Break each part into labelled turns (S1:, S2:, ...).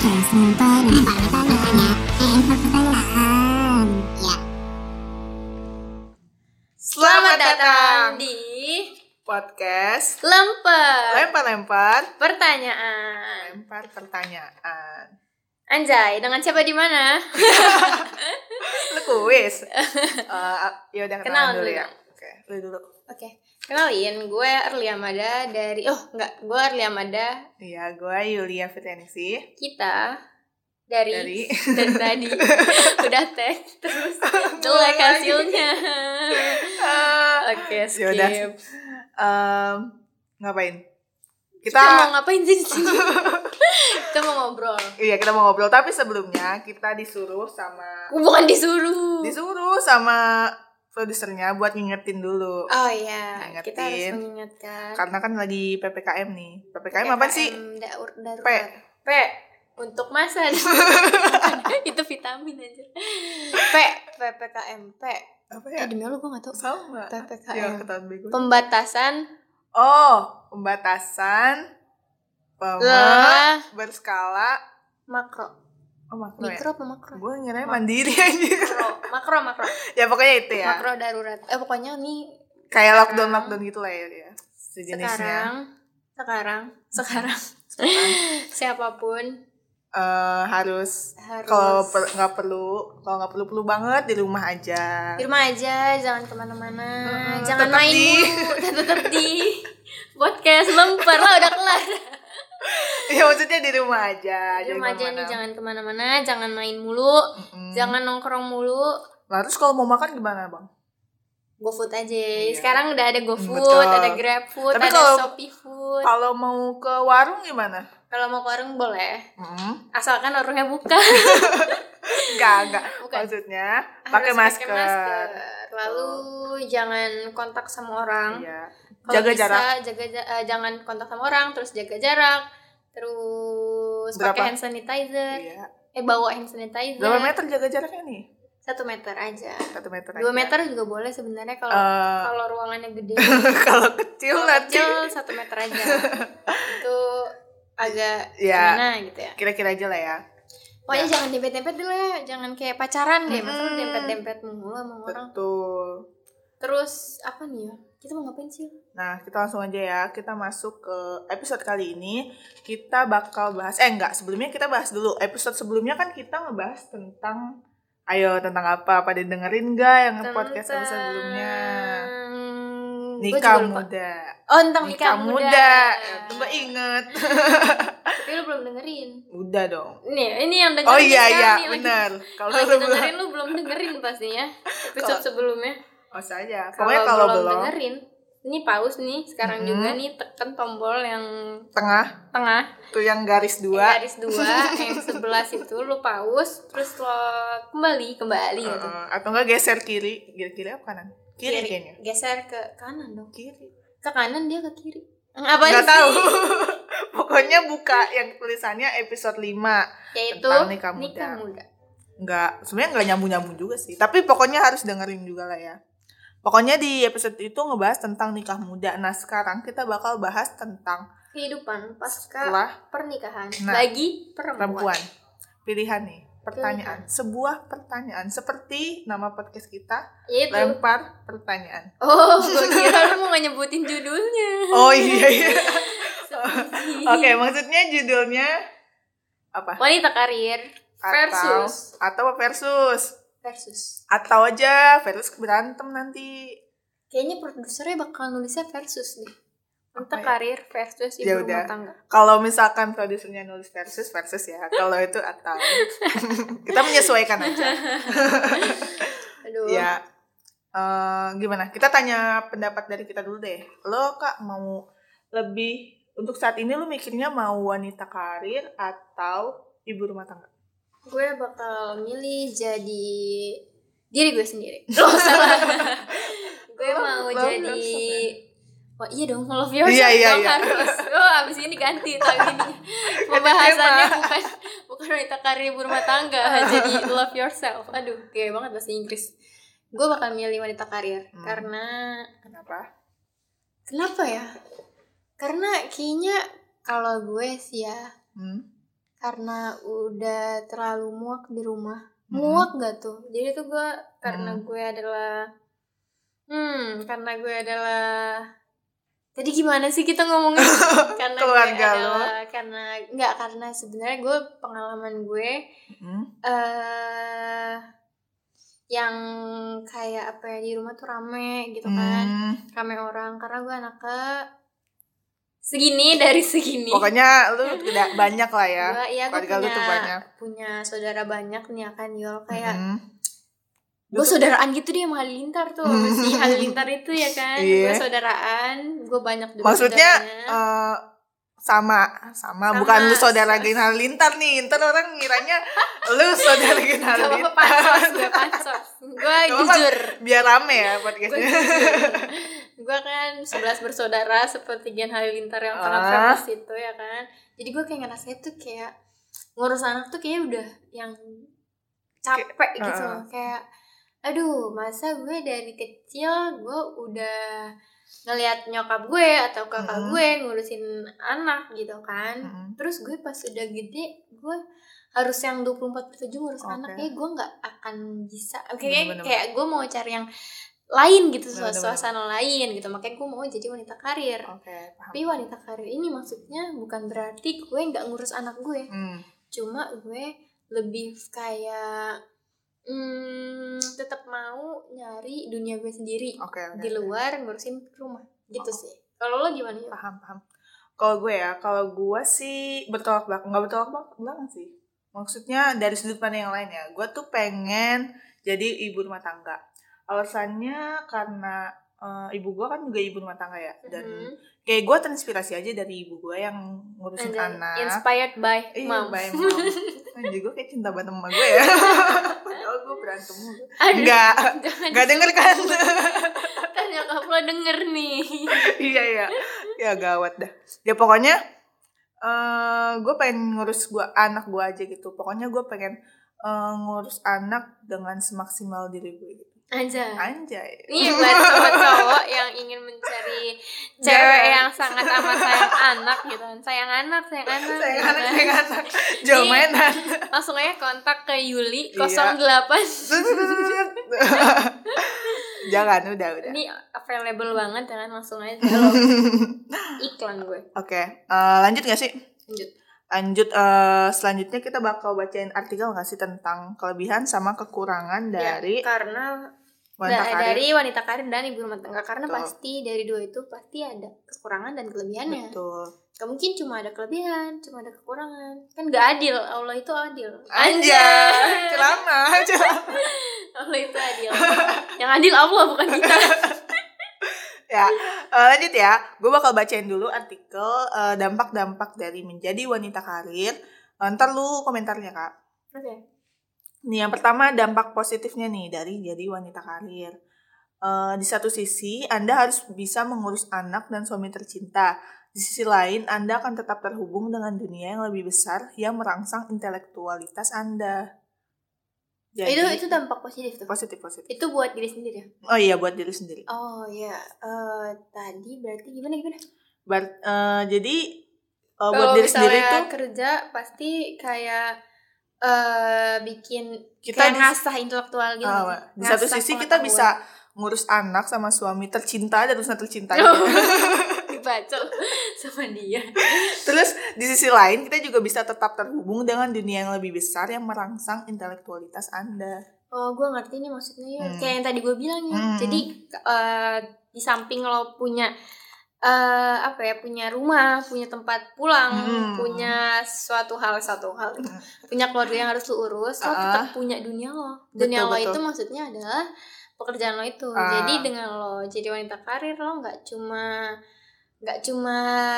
S1: Sumpah, nampak pertanyaannya. Eh, nampak pertanyaan. Ya.
S2: Selamat datang
S3: di
S2: podcast
S3: Lempar
S2: lempar-lempar
S3: Pertanyaan.
S2: lempar pertanyaan.
S3: Anjay, dengan siapa di mana?
S2: Lu kuis. Eh, ya udah kenalan
S3: Kenalan
S2: dulu
S3: dulu.
S2: ya. Oke, lu dulu.
S3: Oke. Kenalin, gue Erli Amada dari Oh, enggak, gue Erli Amada.
S2: Iya, gue Yulia Fitensi
S3: Kita dari dari,
S2: dari
S3: tadi udah tag terus
S2: lagi.
S3: jelek hasilnya.
S2: Ya
S3: Oke, skip.
S2: udah. Em, ngapain?
S3: Kita mau
S2: Kita
S3: ngapain sih di sini? kita mau ngobrol.
S2: iya, kita mau ngobrol tapi sebelumnya kita disuruh sama
S3: Gue bukan disuruh.
S2: disuruh sama produsernya buat ngingetin dulu.
S3: Oh iya,
S2: Ngingetin.
S3: kita harus mengingatkan.
S2: Karena kan lagi PPKM nih. PPKM, apa sih?
S3: PPKM daur- darurat.
S2: P.
S3: P untuk masa itu vitamin aja P PPKM P
S2: Apa
S3: eh
S2: ya?
S3: demi Allah gue gak tau
S2: Sama.
S3: PPKM
S2: Ya, ketahuan bego.
S3: pembatasan
S2: Oh, pembatasan pemak
S3: lah
S2: berskala
S3: makro
S2: oh makro ya?
S3: mikro apa makro
S2: Gue ngira mandiri anjir.
S3: makro makro makro
S2: ya pokoknya itu ya.
S3: makro darurat eh pokoknya nih
S2: Kayak lockdown
S3: Sekarang-
S2: lockdown gitu lah ya. ya. Sejenisnya.
S3: sekarang sekarang sekarang siapapun
S2: Eh, harus
S3: harus
S2: kalau per- nggak perlu, kalau nggak perlu perlu banget di rumah aja.
S3: di rumah aja jangan kemana-mana
S2: Mm-mm,
S3: jangan
S2: tetap
S3: main
S2: di-
S3: mulu tetap di podcast lempar lah udah kelar
S2: ya maksudnya di rumah aja. Hmm.
S3: di rumah aja nih jangan kemana-mana jangan main mulu
S2: Jangan.
S3: jangan nongkrong mulu
S2: Nah, terus kalau mau makan gimana bang?
S3: GoFood aja
S2: Iya.
S3: sekarang udah ada GoFood
S2: Betul.
S3: ada GrabFood
S2: Tapi
S3: ada
S2: kalau-
S3: Shopee Food
S2: Kalau mau ke warung gimana?
S3: kalau mau ke warung boleh
S2: Mm.
S3: asalkan warungnya buka
S2: Enggak, enggak.
S3: Bukan.
S2: Maksudnya
S3: Harus
S2: pakai masker.
S3: lalu jangan kontak sama orang
S2: Iya.
S3: Kalau
S2: Jaga
S3: bisa,
S2: jarak.
S3: jaga ja- eh, jangan kontak sama orang terus jaga jarak terus
S2: Berapa?
S3: pakai hand sanitizer
S2: Iya.
S3: eh bawa hand sanitizer
S2: Berapa meter jaga jaraknya nih?
S3: satu meter aja
S2: Satu meter.
S3: dua
S2: aja.
S3: meter juga boleh sebenarnya kalau
S2: Eh,
S3: kalau ruangannya gede
S2: kalau kecil
S3: kalau
S2: nanti
S3: kecil satu meter aja itu agak
S2: Ya.
S3: gimana gitu ya
S2: kira-kira aja lah ya.
S3: pokoknya jangan dempet dempet dulu ya jangan kayak pacaran deh masa
S2: Mm-mm.
S3: dempet dempet mulu sama orang
S2: Betul.
S3: terus apa nih ya kita mau ngapain sih
S2: Nah, kita langsung aja ya. Kita masuk ke episode kali ini. Kita bakal bahas eh enggak, sebelumnya kita bahas dulu. Episode sebelumnya kan kita ngebahas tentang ayo tentang apa? Pada dengerin enggak yang Nah, podcast episode sebelumnya?
S3: Tentang-
S2: Nikah
S3: Gua juga lupa.
S2: muda.
S3: oh tentang nikah, muda,
S2: Itu gua inget.
S3: tapi lu belum dengerin
S2: Udah dong.
S3: nih ini yang dengerin
S2: Oh iya
S3: sekarang
S2: iya,
S3: nih, lagi-
S2: benar. Kalau
S3: lagi
S2: lu belum
S3: dengerin lu belum dengerin pastinya episode
S2: Kalau-
S3: sebelumnya
S2: Oh saja. Pokoknya kalau belum
S3: dengerin ini pause nih sekarang
S2: Mhm.
S3: juga nih tekan tombol yang
S2: tengah
S3: tengah
S2: tuh yang garis
S3: yang
S2: dua
S3: garis dua yang sebelas itu lu pause terus lo kembali kembali gitu
S2: Heeh, atau enggak geser kiri kiri kiri apa kanan kiri, kayaknya
S3: geser ke kanan dong
S2: kiri
S3: ke kanan dia ke kiri apa
S2: nggak
S3: sih
S2: tahu pokoknya buka yang tulisannya episode 5
S3: yaitu
S2: Tentang nikah
S3: nikah
S2: muda.
S3: muda,
S2: nggak sebenarnya nggak nyambung nyambung juga sih tapi pokoknya harus dengerin juga lah ya pokoknya di episode itu ngebahas tentang nikah muda nah sekarang kita bakal bahas tentang
S3: kehidupan pasca
S2: setelah
S3: pernikahan
S2: Nah,
S3: bagi perempuan,
S2: perempuan pilihan nih pertanyaan sebuah pertanyaan seperti nama podcast kita
S3: yaitu
S2: lempar pertanyaan
S3: oh gue kira lu mau nyebutin judulnya
S2: oh iya iya
S3: Seperti
S2: Oke, maksudnya judulnya apa?
S3: wanita karir versus
S2: atau versus
S3: versus
S2: atau aja versus berantem nanti.
S3: Kayaknya produsernya bakal nulisnya versus deh.
S2: Apa
S3: Untuk
S2: ya?
S3: karir versus ibu
S2: Ya udah.
S3: rumah tangga.
S2: Kalau misalkan produsernya nulis versus versus ya. Kalau itu atau kita menyesuaikan aja.
S3: Aduh.
S2: Ya. Eh, gimana? Kita tanya pendapat dari kita dulu deh. Lo Kak mau lebih untuk saat ini lo mikirnya mau wanita karir atau ibu rumah tangga?
S3: Gue bakal milih jadi diri gue sendiri. Loh, salah. gue
S2: Love-
S3: mau
S2: love
S3: jadi
S2: yourself,
S3: Wah iya dong, love yourself
S2: Iya, iya,
S3: dong
S2: iya.
S3: harus. Oh, abis ini ganti tapi ini pembahasannya
S2: tema.
S3: bukan bukan wanita karir ibu rumah tangga, jadi love yourself. Aduh, gaya banget bahasa Inggris. Gue bakal milih wanita karir
S2: Hmm.
S3: karena
S2: Kenapa?
S3: Kenapa ya? Karena kayaknya kalau gue sih ya,
S2: Hmm.
S3: karena udah terlalu muak di rumah
S2: Hmm.
S3: muak gak tuh jadi tuh gue karena gue adalah hmm karena gue adalah tadi gimana sih kita ngomongnya karena gue
S2: Keluarga lo.
S3: adalah karena nggak karena sebenarnya gue pengalaman gue
S2: Hmm.
S3: eh yang kayak apa ya di rumah tuh rame gitu
S2: Hmm.
S3: kan rame orang karena gue anak ke segini dari segini
S2: Pokoknya lu tidak banyak lah ya.
S3: Gua- iya, gua
S2: keluarga lu
S3: punya
S2: tuh banyak.
S3: punya saudara banyak nih ya kan Yol kayak
S2: Hmm. Mm-hmm.
S3: gue saudaraan gitu dia sama Halilintar tuh
S2: Hmm.
S3: si Halilintar itu ya kan
S2: Iya.
S3: gue saudaraan gue banyak juga
S2: Maksudnya,
S3: saudaranya.
S2: Eh, sama, sama
S3: Sama.
S2: bukan lu saudara Gen Halilintar nih. Ntar orang ngiranya lu saudara Gen
S3: Gak apa-apa
S2: Halilintar.
S3: pansos gue pansos gue
S2: Gak apa-apa.
S3: jujur
S2: Biar rame ya
S3: gue
S2: podcastnya.
S3: jujur gue kan 11 bersaudara seperti Gen Halilintar yang sangat
S2: Ah.
S3: famous itu ya kan jadi gue kayak ngerasa itu kayak ngurus anak tuh kayak udah yang capek
S2: Kayak-
S3: gitu
S2: ah.
S3: kayak aduh masa gue dari kecil gue udah ngelihat nyokap gue atau kakak
S2: Mm-mm.
S3: gue ngurusin anak gitu kan
S2: Mm-mm.
S3: terus gue pas udah gede gue harus yang 24 per 7 ngurus
S2: Oke.
S3: anak kayak gue nggak akan bisa oke
S2: Bener-bener.
S3: kayak gue mau cari yang lain gitu
S2: Bener-bener.
S3: suasana lain gitu makanya gue mau jadi wanita karir
S2: Oke, paham.
S3: tapi wanita karir ini maksudnya bukan berarti gue nggak ngurus anak gue
S2: Hmm.
S3: cuma gue lebih kayak hmm, tetap mau nyari dunia gue sendiri
S2: Oke, Oh, oke. Oh.
S3: di luar ngurusin rumah gitu sih kalau lo gimana Yul?
S2: paham paham kalau gue ya kalau gue sih bertolak belakang nggak bertolak belak- belakang sih maksudnya dari sudut pandang yang lain ya gue tuh pengen jadi ibu rumah tangga alasannya karena eh, ibu gue kan juga ibu rumah tangga ya dan
S3: Mhm.
S2: kayak gue terinspirasi aja dari ibu gue yang ngurusin
S3: And then
S2: anak
S3: inspired by
S2: Iya,
S3: mom
S2: by mom. Anjir, gue kayak cinta banget sama gue ya. Padahal gue berantem. mulu.
S3: Aduh,
S2: Enggak.
S3: jangan
S2: Gak denger kan?
S3: kan nyokap lo denger nih
S2: iya iya ya gawat dah ya pokoknya eh gue pengen ngurus gua anak gue aja gitu pokoknya gue pengen eh, ngurus anak dengan semaksimal diri gue gitu
S3: aja
S2: anjay
S3: ini buat cowok-cowok yang ingin mencari cewek
S2: Jangan.
S3: yang sangat amat sayang anak gitu kan sayang anak sayang anak
S2: sayang
S3: gitu
S2: anak
S3: kan.
S2: sayang anak jauh
S3: Iya.
S2: mainan
S3: langsung aja kontak ke Yuli
S2: Iya.
S3: 08
S2: jangan udah udah
S3: ini available banget jangan langsung aja kalau iklan gue
S2: oke eh, lanjut gak sih
S3: lanjut
S2: lanjut eh, selanjutnya kita bakal bacain artikel gak sih tentang kelebihan sama kekurangan
S3: Ya,
S2: dari
S3: karena
S2: wanita
S3: da-
S2: karir
S3: dari wanita karir dan ibu rumah tangga karena
S2: Betul.
S3: pasti dari dua itu pasti ada kekurangan dan kelebihannya
S2: betul
S3: Gak mungkin cuma ada kelebihan, cuma ada kekurangan. Kan gak adil, Allah itu adil.
S2: Anjay, celana, celana.
S3: Allah itu adil. Yang adil Allah bukan kita.
S2: Ya, eh, lanjut ya. Gue bakal bacain dulu artikel eh, dampak-dampak dari menjadi wanita karir. Eh, ntar lu komentarnya kak.
S3: Oke.
S2: Nih yang pertama dampak positifnya nih dari jadi wanita karir. Eh, di satu sisi Anda harus bisa mengurus anak dan suami tercinta. Di sisi lain Anda akan tetap terhubung dengan dunia yang lebih besar yang merangsang intelektualitas Anda. Ya, Jadi,
S3: Itu itu dampak positif tuh.
S2: positif positif.
S3: Itu buat diri sendiri ya.
S2: Oh iya buat diri sendiri.
S3: Oh ya, tadi berarti gimana gimana?
S2: Bar- eh, jadi eh, buat diri sendiri tuh
S3: kerja pasti kayak eh bikin
S2: kita
S3: kayak
S2: di,
S3: ngasah intelektual gitu.
S2: eh,
S3: nggak sih?
S2: di satu
S3: Ngasah
S2: sisi kita
S3: pengetahuan.
S2: bisa ngurus anak sama suami tercinta dan urusan tercinta gitu.
S3: Oh. dibaca sama dia.
S2: terus di sisi lain kita juga bisa tetap terhubung dengan dunia yang lebih besar yang merangsang intelektualitas anda
S3: Oh, gue ngerti nih maksudnya ya.
S2: Hmm.
S3: Kayak yang tadi gue bilang ya.
S2: Hmm.
S3: Jadi eh, di samping lo punya eh apa ya punya rumah, punya tempat pulang,
S2: Hmm.
S3: punya suatu hal satu hal, punya keluarga yang harus lo urus,
S2: Ah.
S3: lo tetap punya dunia lo. Dunia
S2: Betul,
S3: lo
S2: betul.
S3: itu maksudnya adalah pekerjaan lo itu.
S2: Ah.
S3: Jadi dengan lo jadi wanita karir lo nggak cuma nggak cuma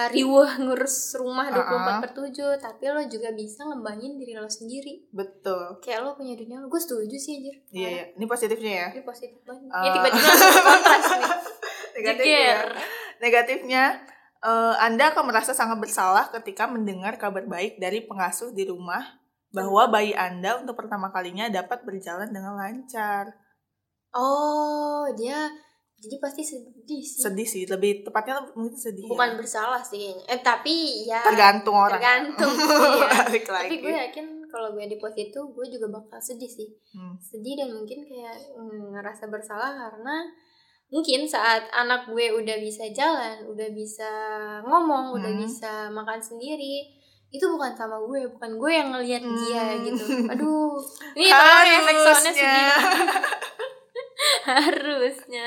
S3: riweh ngurus rumah 24
S2: Ah.
S3: per 7 tapi lo juga bisa ngembangin diri lo sendiri
S2: betul
S3: kayak lo punya dunia lo gue setuju sih anjir
S2: iya iya. ini positifnya ya
S3: ini positif banget
S2: Ah. ya.
S3: ya tiba-tiba langsung kontras nih
S2: negatifnya
S3: Jeger.
S2: negatifnya eh, anda akan merasa sangat bersalah ketika mendengar kabar baik dari pengasuh di rumah bahwa bayi anda untuk pertama kalinya dapat berjalan dengan lancar
S3: oh dia jadi pasti sedih sih
S2: sedih sih lebih tepatnya mungkin sedih ya.
S3: bukan bersalah sih kayaknya eh tapi ya
S2: tergantung orang
S3: tergantung iya.
S2: Balik lagi.
S3: tapi gue yakin kalau gue di pos itu gue juga bakal sedih sih
S2: Hmm.
S3: sedih dan mungkin kayak mm, ngerasa bersalah karena mungkin saat anak gue udah bisa jalan udah bisa ngomong udah
S2: Hmm.
S3: bisa makan sendiri itu bukan sama gue bukan gue yang ngelihat dia
S2: Hmm.
S3: gitu aduh ini tolong efek soundnya
S2: Harusnya.
S3: sedih harusnya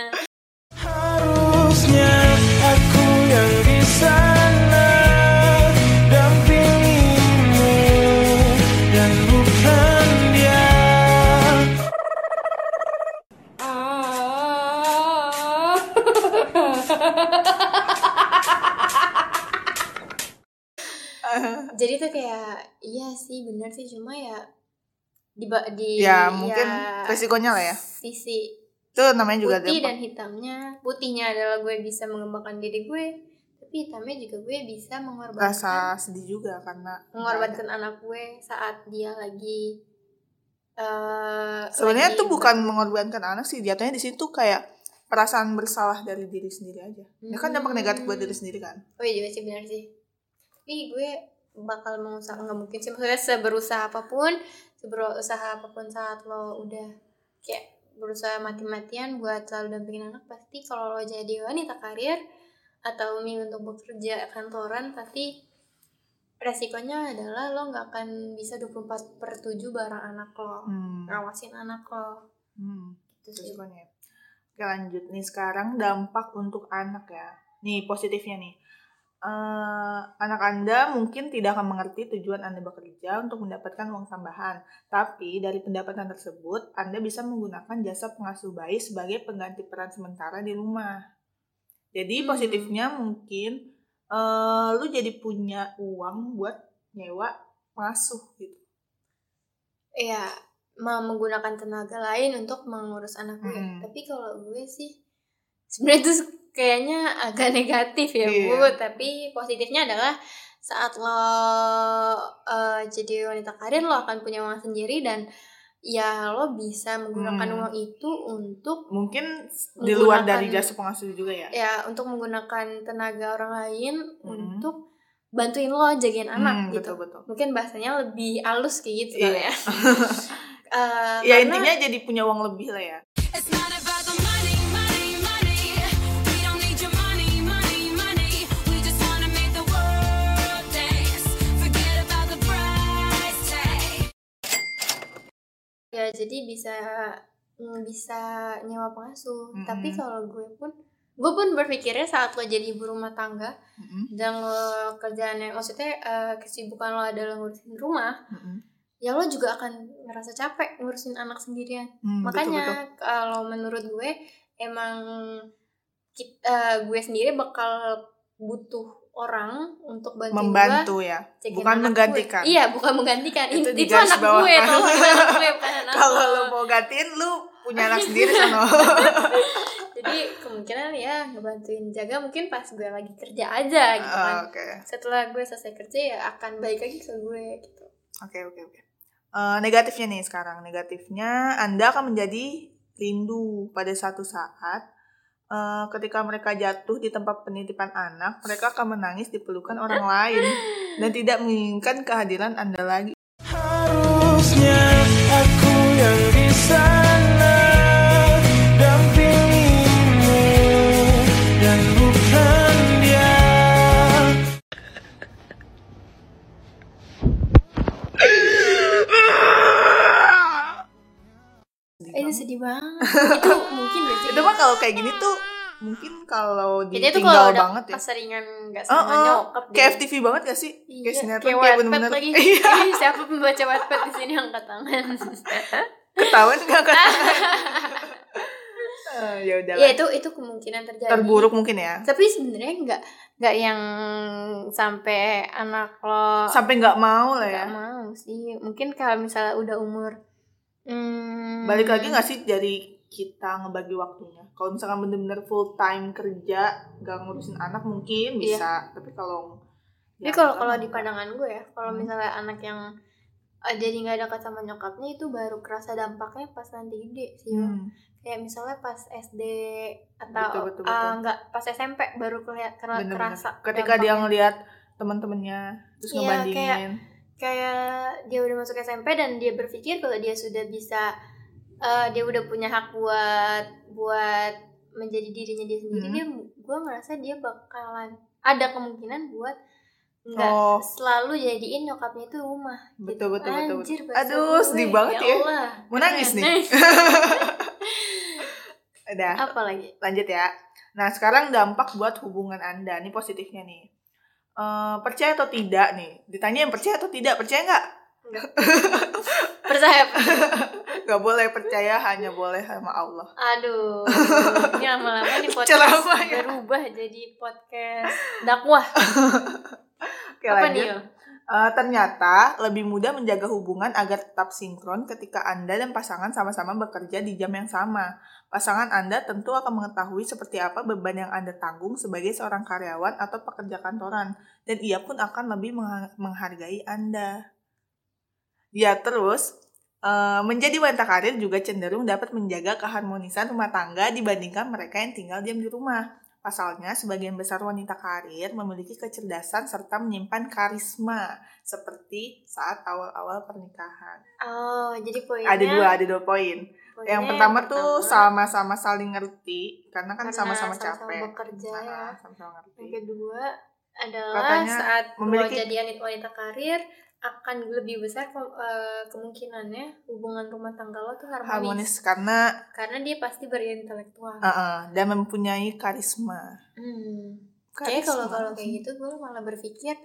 S4: Harusnya aku yang di sana dampingimu dan bukan dia.
S2: Ya,
S3: jadi tuh kayak iya sih benar sih cuma ya di ba- di
S2: ya mungkin
S3: ya,
S2: resikonya lah ya
S3: sisi
S2: itu namanya juga
S3: putih
S2: dampak.
S3: dan hitamnya putihnya adalah gue bisa mengembangkan diri gue tapi hitamnya juga gue bisa mengorbankan
S2: rasa sedih juga karena
S3: mengorbankan anak gue saat dia lagi eh,
S2: sebenarnya
S3: lagi
S2: tuh bukan mengorbankan anak sih jatuhnya di situ kayak perasaan bersalah dari diri sendiri aja ya kan dampak
S3: Hmm.
S2: negatif buat diri sendiri kan
S3: oh iya juga sih benar sih tapi gue bakal mengusaha nggak mungkin sih maksudnya seberusaha apapun seberusaha apapun saat lo udah kayak berusaha mati-matian buat selalu dampingin anak pasti kalau lo jadi wanita karir atau memilih untuk bekerja kantoran pasti resikonya adalah lo nggak akan bisa 24 per 7 bareng anak lo
S2: hmm.
S3: ngawasin anak lo
S2: Hmm.
S3: gitu sih
S2: resikonya ya. Oke lanjut nih sekarang dampak untuk anak ya nih positifnya nih Eh, anak Anda mungkin tidak akan mengerti tujuan Anda bekerja untuk mendapatkan uang tambahan. Tapi dari pendapatan tersebut, Anda bisa menggunakan jasa pengasuh bayi sebagai pengganti peran sementara di rumah. Jadi
S3: Hmm.
S2: positifnya mungkin eh, lu jadi punya uang buat nyewa pengasuh gitu.
S3: Iya, mau menggunakan tenaga lain untuk mengurus anak gue.
S2: Mm.
S3: Tapi kalau gue sih sebenarnya itu kayaknya agak negatif ya, Bu,
S2: Iya.
S3: tapi positifnya adalah saat lo eh, jadi wanita karir lo akan punya uang sendiri dan ya lo bisa menggunakan
S2: Hmm.
S3: uang itu untuk
S2: Mungkin di luar
S3: Menggunakan-
S2: dari jasa pengasuh juga ya.
S3: ya untuk menggunakan tenaga orang lain
S2: Mm.
S3: untuk bantuin lo jagain
S2: Hmm,
S3: anak gitu.
S2: Betul-betul.
S3: Mungkin bahasanya lebih halus kayak gitu kali
S2: Iya.
S3: ya. Eh,
S2: ya
S3: karena-
S2: intinya jadi punya uang lebih lah ya
S5: It's not about the money, money, money. We don't need your money, money, money. We just wanna make the world dance. Forget about the price tag.
S3: ya jadi bisa mm, bisa nyewa pengasuh
S2: Mm-mm.
S3: tapi kalau gue pun gue pun berpikirnya saat lo jadi ibu rumah tangga dan lo kerjaannya maksudnya eh, kesibukan lo adalah ngurusin rumah ya lo juga akan ngerasa capek ngurusin anak sendirian
S2: Hmm, betul-betul.
S3: makanya kalau menurut gue emang kit- eh, gue sendiri bakal butuh orang untuk bantu gue
S2: membantu ya
S3: jagain
S2: bukan
S3: anak gue.
S2: menggantikan.
S3: iya bukan menggantikan itu,
S2: Itu di
S3: itu
S2: garis
S3: anak
S2: bawah.
S3: gue kalau anak gue bukan anak
S2: kalau
S3: lo.
S2: lo mau gantiin lu punya anak sendiri sono
S3: jadi kemungkinan ya ngebantuin jaga mungkin pas gue lagi kerja aja gitu kan
S2: Ah, oke
S3: setelah gue selesai kerja ya akan balik lagi ke gue gitu
S2: oke oke oke Eh, negatifnya nih sekarang negatifnya anda akan menjadi rindu pada satu saat eh, ketika mereka jatuh di tempat penitipan anak mereka akan menangis di pelukan orang lain dan tidak menginginkan kehadiran anda lagi
S4: Harusnya aku yang di sana dampingimu dan bukan dia.
S3: Eh, itu sedih banget itu mungkin gak sih
S2: itu mah kalau kayak gini tuh mungkin kalau
S3: jadi itu kalau
S2: ditinggal
S3: udah
S2: banget ya
S3: keseringan gak
S2: Oh,
S3: sama
S2: oh,
S3: nyokap
S2: kayak
S3: gitu.
S2: FTV banget gak sih?
S3: Iya,
S2: kayak sinetron
S3: kayak
S2: kayak,
S3: Wattpad
S2: bener-bener
S3: lagi.
S2: Iya,
S3: Ih, siapa pembaca Wattpad di sini angkat tangan.
S2: ketahuan gak kan? Eh, ya udah
S3: Iya
S2: lah.
S3: itu itu kemungkinan terjadi.
S2: terburuk mungkin ya
S3: Tapi sebenarnya nggak nggak yang sampai anak lo
S2: sampai nggak mau lah ya
S3: Gak mau sih. Mungkin kalau misalnya udah umur hmm,
S2: balik lagi nggak sih dari kita ngebagi waktunya kalau misalkan bener-bener full time kerja gak ngurusin anak mungkin
S3: Iya.
S2: bisa tapi kalau
S3: Tapi
S2: ya,
S3: kalau
S2: kan
S3: kalau di
S2: nggak.
S3: pandangan gue ya, kalau
S2: Hmm.
S3: misalnya anak yang eh, jadi nggak dekat sama nyokapnya itu baru kerasa dampaknya pas nanti gede sih.
S2: Hmm.
S3: Kayak kayak misalnya pas SD
S2: Betul,
S3: atau
S2: betul,
S3: ah,
S2: betul.
S3: nggak pas SMP baru kelihatan
S2: Bener-bener.
S3: kerasa
S2: ketika dia
S3: dampaknya.
S2: ngelihat teman-temannya terus
S3: ya. Iya,
S2: ngebandingin
S3: kayak- kayak dia udah masuk SMP dan dia berpikir kalau dia sudah bisa eh, dia udah punya hak buat buat menjadi dirinya dia sendiri
S2: Mhm.
S3: dia gue merasa dia bakalan ada kemungkinan buat nggak
S2: oh
S3: selalu jadiin nyokapnya itu rumah gitu.
S2: betul betul betul, betul.
S3: Anjir, bahasa
S2: aduh sedih
S3: gue,
S2: banget ya
S3: Allah.
S2: mau nangis nih
S3: Keren.
S2: udah
S3: apa lagi
S2: lanjut ya nah sekarang dampak buat hubungan anda nih positifnya nih Eh, percaya atau tidak nih ditanya yang percaya atau tidak percaya nggak
S3: percaya
S2: nggak boleh percaya hanya boleh sama Allah
S3: aduh ini lama-lama nih podcast
S2: Ceramah ya.
S3: berubah jadi podcast dakwah
S2: oke
S3: apa
S2: lanjut
S3: nih yo?
S2: Eh, ternyata lebih mudah menjaga hubungan agar tetap sinkron ketika Anda dan pasangan sama-sama bekerja di jam yang sama. Pasangan Anda tentu akan mengetahui seperti apa beban yang Anda tanggung sebagai seorang karyawan atau pekerja kantoran, dan ia pun akan lebih mengha- menghargai Anda. Ya, terus eh, menjadi wanita karir juga cenderung dapat menjaga keharmonisan rumah tangga dibandingkan mereka yang tinggal diam di rumah. Pasalnya, sebagian besar wanita karir memiliki kecerdasan serta menyimpan karisma seperti saat awal-awal pernikahan.
S3: oh jadi poinnya
S2: Ada dua, ada dua poin.
S3: poinnya
S2: Yang pertama tuh
S3: Iya, pertama-
S2: sama-sama saling ngerti karena kan
S3: Karena
S2: sama-sama
S3: sama-sama
S2: capek.
S3: bekerja
S2: Nah,
S3: ya.
S2: sama-sama ngerti.
S3: Yang kedua adalah
S2: Katanya
S3: saat
S2: memiliki-
S3: dua jadi wanita, wanita karir akan lebih besar ke- eh, kemungkinannya hubungan rumah tangga lo tuh harmonis,
S2: Harmonis karena
S3: karena dia pasti berintelektual.
S2: eh, eh, dan mempunyai karisma.
S3: Hmm. Kayaknya kalau kalau kayak gitu gue malah berpikir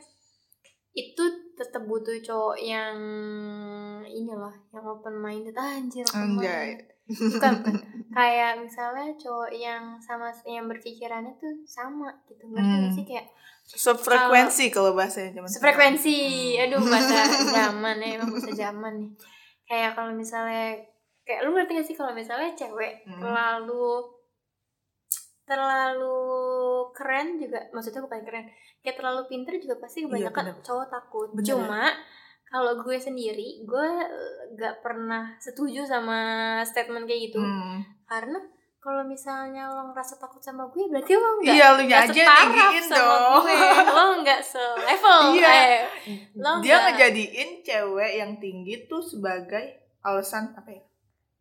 S3: itu tetap butuh cowok yang ini loh, yang open minded Ah, anjir. open
S2: Anjay.
S3: minded. Bukan, bukan. kayak misalnya cowok yang sama yang berpikirannya tuh sama gitu. Ngerti nggak
S2: Hmm.
S3: sih kayak
S2: Sefrekuensi kalau bahasanya zaman sekarang.
S3: Sefrekuensi,
S2: Hmm.
S3: aduh bahasa zaman ya, emang bahasa zaman nih. Kayak kalau misalnya, kayak lu ngerti gak sih kalau misalnya cewek
S2: Hmm.
S3: terlalu terlalu keren juga, maksudnya bukan keren, kayak terlalu pinter juga
S2: Iya,
S3: pasti kebanyakan
S2: bener.
S3: cowok takut.
S2: Bener.
S3: Cuma kalau gue sendiri, gue eh, gak pernah setuju sama statement kayak gitu,
S2: Hmm.
S3: karena kalau misalnya lo ngerasa takut sama gue, berarti lo gak
S2: Iya, lu
S3: Gak
S2: aja
S3: setaraf
S2: tinggiin
S3: sama
S2: dong.
S3: gue. Lo gak selevel
S2: Iya.
S3: eh, Lo
S2: dia
S3: nggak-
S2: ngejadiin cewek yang tinggi tuh sebagai alasan apa ya?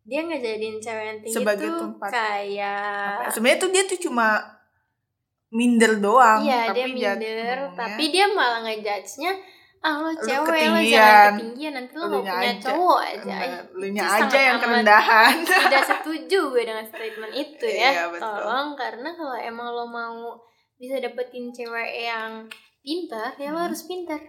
S3: Dia ngejadiin cewek yang tinggi
S2: Sebagai
S3: tuh
S2: tempat.
S3: kayak
S2: Apa ya? Sebenarnya tuh dia tuh cuma minder doang,
S3: Iya
S2: tapi hmm, ya.
S3: dia minder
S2: ngomongnya,
S3: Tapi dia malah ngejudge-nya Ah lo cewek lo
S2: ketinggian.
S3: jangan ketinggian Nanti lo
S2: Elunya
S3: gak punya
S2: aja.
S3: cowok aja
S2: "Nah,
S3: Itu
S2: lunya
S3: sangat
S2: aja yang
S3: amat
S2: kerendahan.
S3: Tidak setuju gue dengan statement itu ya
S2: Iya, betul.
S3: Tolong karena kalau emang lo mau Bisa dapetin cewek yang pintar Ya
S2: Hmm.
S3: lo harus pintar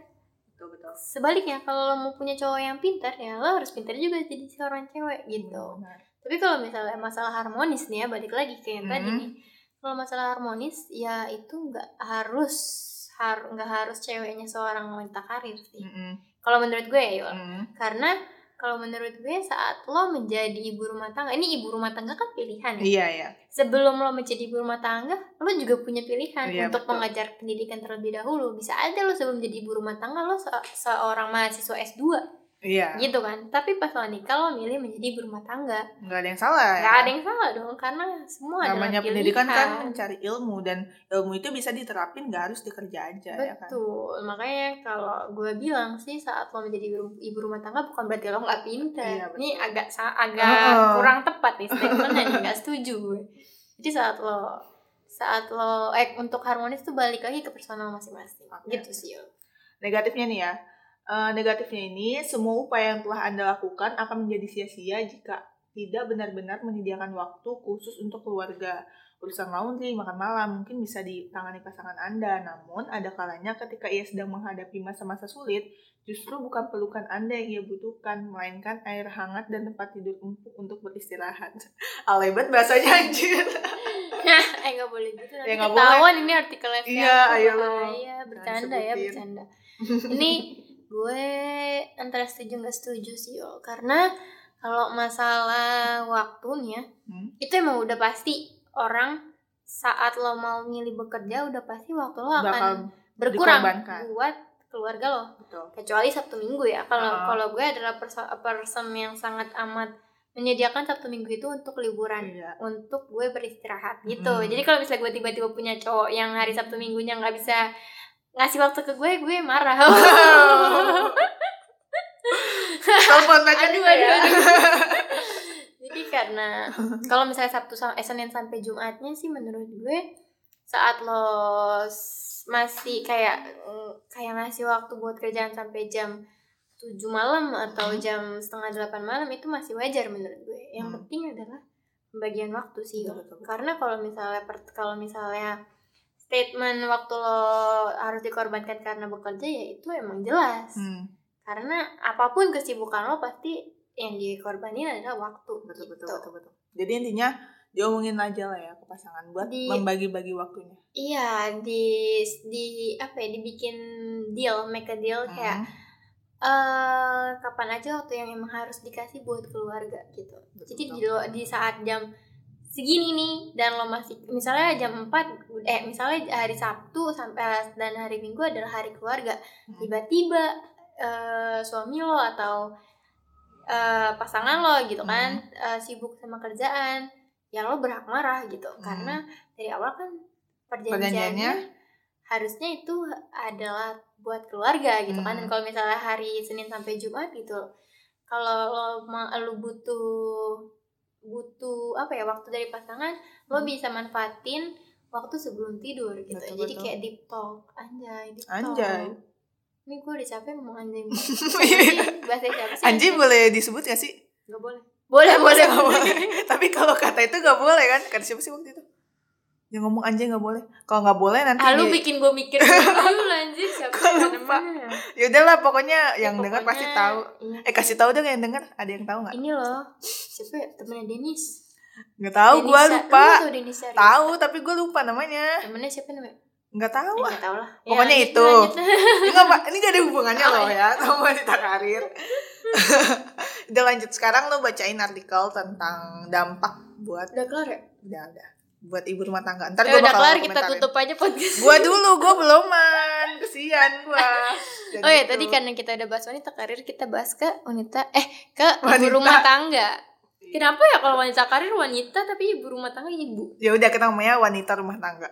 S2: Betul, betul.
S3: Sebaliknya kalau lo mau punya cowok yang pintar Ya lo harus pintar juga jadi seorang cewek gitu
S2: Benar.
S3: Tapi kalau misalnya masalah harmonis nih ya balik lagi ke yang tadi
S2: Mhm.
S3: nih. Kalau masalah harmonis ya itu nggak harus har nggak harus ceweknya seorang wanita karir sih.
S2: Mm-mm,
S3: Kalau menurut gue ya, Yul.
S2: mm.
S3: karena kalau menurut gue saat lo menjadi ibu rumah tangga, ini ibu rumah tangga kan pilihan ya.
S2: Iya ya.
S3: Sebelum lo menjadi ibu rumah tangga, lo juga punya pilihan
S2: Iya,
S3: untuk
S2: betul.
S3: mengajar pendidikan terlebih dahulu. Bisa aja lo sebelum jadi ibu rumah tangga lo se- seorang mahasiswa S2
S2: Iya.
S3: gitu kan. Tapi pas lo nikah lo milih menjadi ibu rumah tangga.
S2: Nggak ada yang salah. ya.
S3: Gak ada yang salah dong karena semua
S2: Namanya
S3: adalah
S2: pendidikan
S3: pilihan.
S2: kan mencari ilmu dan ilmu itu bisa diterapin nggak harus dikerja aja ya kan.
S3: Betul, makanya kalau gue bilang sih saat lo menjadi ibu, ibu rumah tangga bukan berarti lo nggak pintar.
S2: Iya, betul.
S3: Ini agak sa- agak
S2: Heeh.
S3: kurang tepat nih statementnya nih, nggak setuju gue. Jadi saat lo saat lo eh untuk harmonis tuh balik lagi ke personal masing-masing.
S2: Oke.
S3: Gitu sih. Yul.
S2: Negatifnya nih ya. Eh, negatifnya ini semua upaya yang telah Anda lakukan akan menjadi sia-sia jika tidak benar-benar menyediakan waktu khusus untuk keluarga. Urusan laundry, makan malam mungkin bisa ditangani pasangan Anda. Namun ada kalanya ketika ia sedang menghadapi masa-masa sulit, justru bukan pelukan Anda yang ia butuhkan, melainkan air hangat dan tempat tidur empuk untuk beristirahat. Alay banget bahasanya anjir.
S3: eh nggak boleh gitu nanti
S2: Ya, nggak
S3: ketahuan ini artikel FYP.
S2: Iya, ayo lo.
S3: Iya, bercanda ya,
S2: disebutin.
S3: bercanda. ini gue antara setuju nggak setuju sih, Yul. karena kalau masalah waktunya
S2: Hmm.
S3: itu emang udah pasti orang saat lo mau milih bekerja udah pasti waktu lo akan
S2: Bakal
S3: berkurang
S2: dikorbankan.
S3: buat keluarga lo
S2: betul.
S3: kecuali Sabtu Minggu ya. Kalau
S2: Ah.
S3: kalau gue adalah perso- person yang sangat amat menyediakan Sabtu Minggu itu untuk liburan
S2: Iya.
S3: untuk gue beristirahat gitu
S2: Mm.
S3: jadi kalau misalnya gue tiba-tiba punya cowok yang hari Sabtu Minggunya nggak bisa ngasih waktu ke gue gue marah
S2: Telepon aja
S3: Aduh,
S2: kita
S3: aduh,
S2: ya.
S3: jadi karena kalau misalnya Sabtu sama eh, Senin sampai Jumatnya sih menurut gue saat lo s- masih kayak mm, kayak ngasih waktu buat kerjaan sampai jam 7 malam atau
S2: Mm-hmm.
S3: jam setengah delapan malam itu masih wajar menurut gue. Yang
S2: Hmm.
S3: penting adalah pembagian waktu
S2: Betul,
S3: sih. Yo.
S2: betul, betul.
S3: Karena kalau misalnya per- kalau misalnya statement waktu lo harus dikorbankan karena bekerja ya itu emang jelas.
S2: Hmm,
S3: Karena apapun kesibukan lo pasti yang dikorbanin adalah waktu.
S2: betul, betul,
S3: gitu.
S2: betul, betul. Jadi intinya diomongin aja lah ya ke pasangan buat
S3: Di-
S2: membagi-bagi waktunya.
S3: Iya, di di apa ya dibikin deal, make a deal kayak
S2: Hmm,
S3: eh kapan aja waktu yang emang harus dikasih buat keluarga gitu.
S2: Betul,
S3: Jadi di,
S2: betul.
S3: lo- di saat jam segini nih dan lo masih misalnya jam 4 eh misalnya hari Sabtu sampai dan hari Minggu adalah hari keluarga.
S2: Hmm.
S3: Tiba-tiba eh, suami lo atau eh, pasangan lo gitu kan eh, sibuk sama kerjaan, ya lo berhak marah gitu
S2: Hmm.
S3: karena dari awal kan
S2: Perjanjiannya?
S3: perjanjiannya harusnya itu adalah buat keluarga gitu kan
S2: Hmm.
S3: dan kalau misalnya hari Senin sampai Jumat gitu kalau lo ma- lo butuh butuh apa ya waktu dari pasangan lo bisa manfaatin waktu sebelum tidur gitu
S2: Hmm. Betul,
S3: jadi
S2: betul.
S3: kayak deep talk anjay deep talk.
S2: Anjay.
S3: ini gue udah capek ngomong anjay Anjay, bahasa siapa sih
S2: Anji boleh disebut gak sih?
S3: nggak boleh
S2: Boleh, boleh, nggak boleh. Tapi kalau kata itu gak boleh kan? Kata siapa sih waktu itu? Yang ngomong anjing gak boleh. Kalau gak boleh nanti...
S3: ah, lu
S2: di-
S3: bikin gue mikir dulu anjir siapa
S2: Gua
S3: yang
S2: lupa.
S3: namanya?
S2: Ya udahlah pokoknya yang
S3: Ya,
S2: dengar pasti
S3: pokoknya,
S2: tahu.
S3: iya.
S2: Eh kasih tahu dong yang dengar. Ada yang tahu nggak?
S3: ini loh siapa ya? temennya Denis
S2: Nggak tahu,
S3: Denisa-
S2: gua
S3: lu
S2: lupa.
S3: tau Denisa Rizky?
S2: Tahu tapi gua lupa namanya.
S3: temennya siapa namanya
S2: Nggak
S3: Eh,
S2: tahu. ah.
S3: nggak tahu lah Ya,
S2: Pokoknya
S3: lanjut,
S2: itu.
S3: lanjut.
S2: Ini nggak apa- ini gak ada hubungannya
S3: Oh,
S2: loh ya sama wanita karir. udah lanjut sekarang lo bacain artikel tentang dampak buat
S3: udah kelar ya
S2: udah udah buat ibu rumah tangga. Ntar
S3: Ya,
S2: gua
S3: udah
S2: bakal
S3: kelar kita
S2: komentarin.
S3: tutup aja podcast
S2: Gua dulu, gua beloman. Kesian gua. Dan
S3: oh ya
S2: gitu.
S3: tadi karena kita udah bahas wanita karir kita bahas ke wanita eh ke
S2: Wanita.
S3: ibu rumah tangga kenapa ya kalau wanita karir wanita tapi ibu rumah tangga ibu
S2: ya udah kita ngomongnya wanita rumah tangga.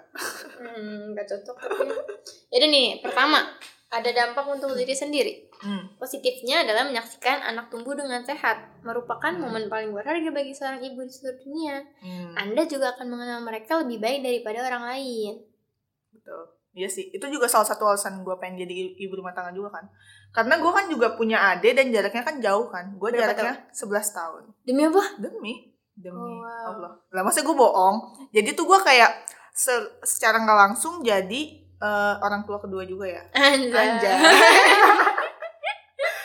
S3: hmm nggak cocok jadi nih pertama ada dampak untuk diri sendiri
S2: Hmm.
S3: Positifnya adalah menyaksikan anak tumbuh dengan sehat, merupakan momen paling berharga bagi seorang ibu di seluruh dunia.
S2: Hmm.
S3: Anda juga akan mengenal mereka lebih baik daripada orang lain.
S2: Betul. Iya sih, itu juga salah satu alasan gue pengen jadi ibu rumah tangga juga kan. Karena gue kan juga punya adik dan jaraknya kan jauh kan. Gue
S3: Berapa
S2: jaraknya 11 tahun.
S3: Demi apa?
S2: Demi, demi
S3: Oh, wow.
S2: Allah. Lah masa gue bohong? Jadi tuh gue kayak se- secara nggak langsung jadi eh, orang tua kedua juga ya.
S3: Anjay.
S2: Anjay.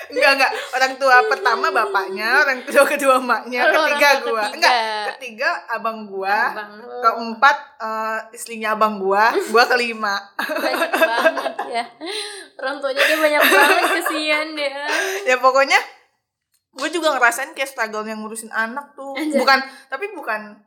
S2: Enggak, enggak. Orang tua pertama bapaknya, orang tua kedua emaknya,
S3: Lu orang
S2: ketiga
S3: tua
S2: gue.
S3: ketiga.
S2: Enggak, ketiga abang gue.
S3: Abang lu
S2: Keempat eh, istrinya abang gue, gue kelima.
S3: banyak banget ya. Orang tuanya dia banyak banget kesian dia.
S2: ya pokoknya gue juga ngerasain kayak struggle yang ngurusin anak tuh
S3: Anjay.
S2: bukan tapi bukan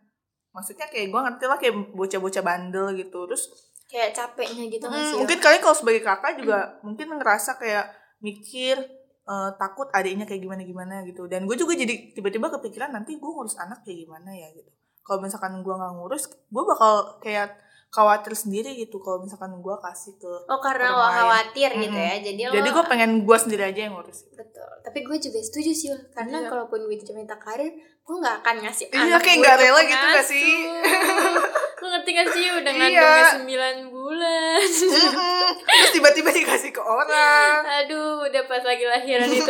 S2: maksudnya kayak gue ngerti lah kayak bocah-bocah bandel gitu terus
S3: Kayak capeknya
S2: mm,
S3: gitu nggak sih.
S2: mungkin kalian kalau sebagai kakak juga mungkin ngerasa kayak mikir eh, takut adiknya kayak gimana gimana gitu dan gue juga jadi tiba-tiba kepikiran nanti gue ngurus anak kayak gimana ya gitu kalau misalkan gue nggak ngurus gue bakal kayak khawatir sendiri gitu kalau misalkan gue kasih ke
S3: Oh karena lo
S2: orang lain.
S3: khawatir gitu
S2: Mm-mm.
S3: ya. Jadi lo
S2: jadi gue pengen gue sendiri aja yang ngurus
S3: Betul. Tapi gue juga setuju sih, Ul. karena
S2: Iya.
S3: kalaupun gue jadi wanita karir, gue nggak akan ngasih
S2: Iya,
S3: anak
S2: kayak
S3: gue
S2: nggak
S3: ke
S2: rela gitu nggak
S3: pengasuh.
S2: sih?
S3: Lu ngerti gak sih udah
S2: Iya.
S3: ngandungnya 9 bulan.
S2: Mm-mm. terus tiba-tiba dikasih ke orang
S3: Aduh, udah pas lagi lahiran itu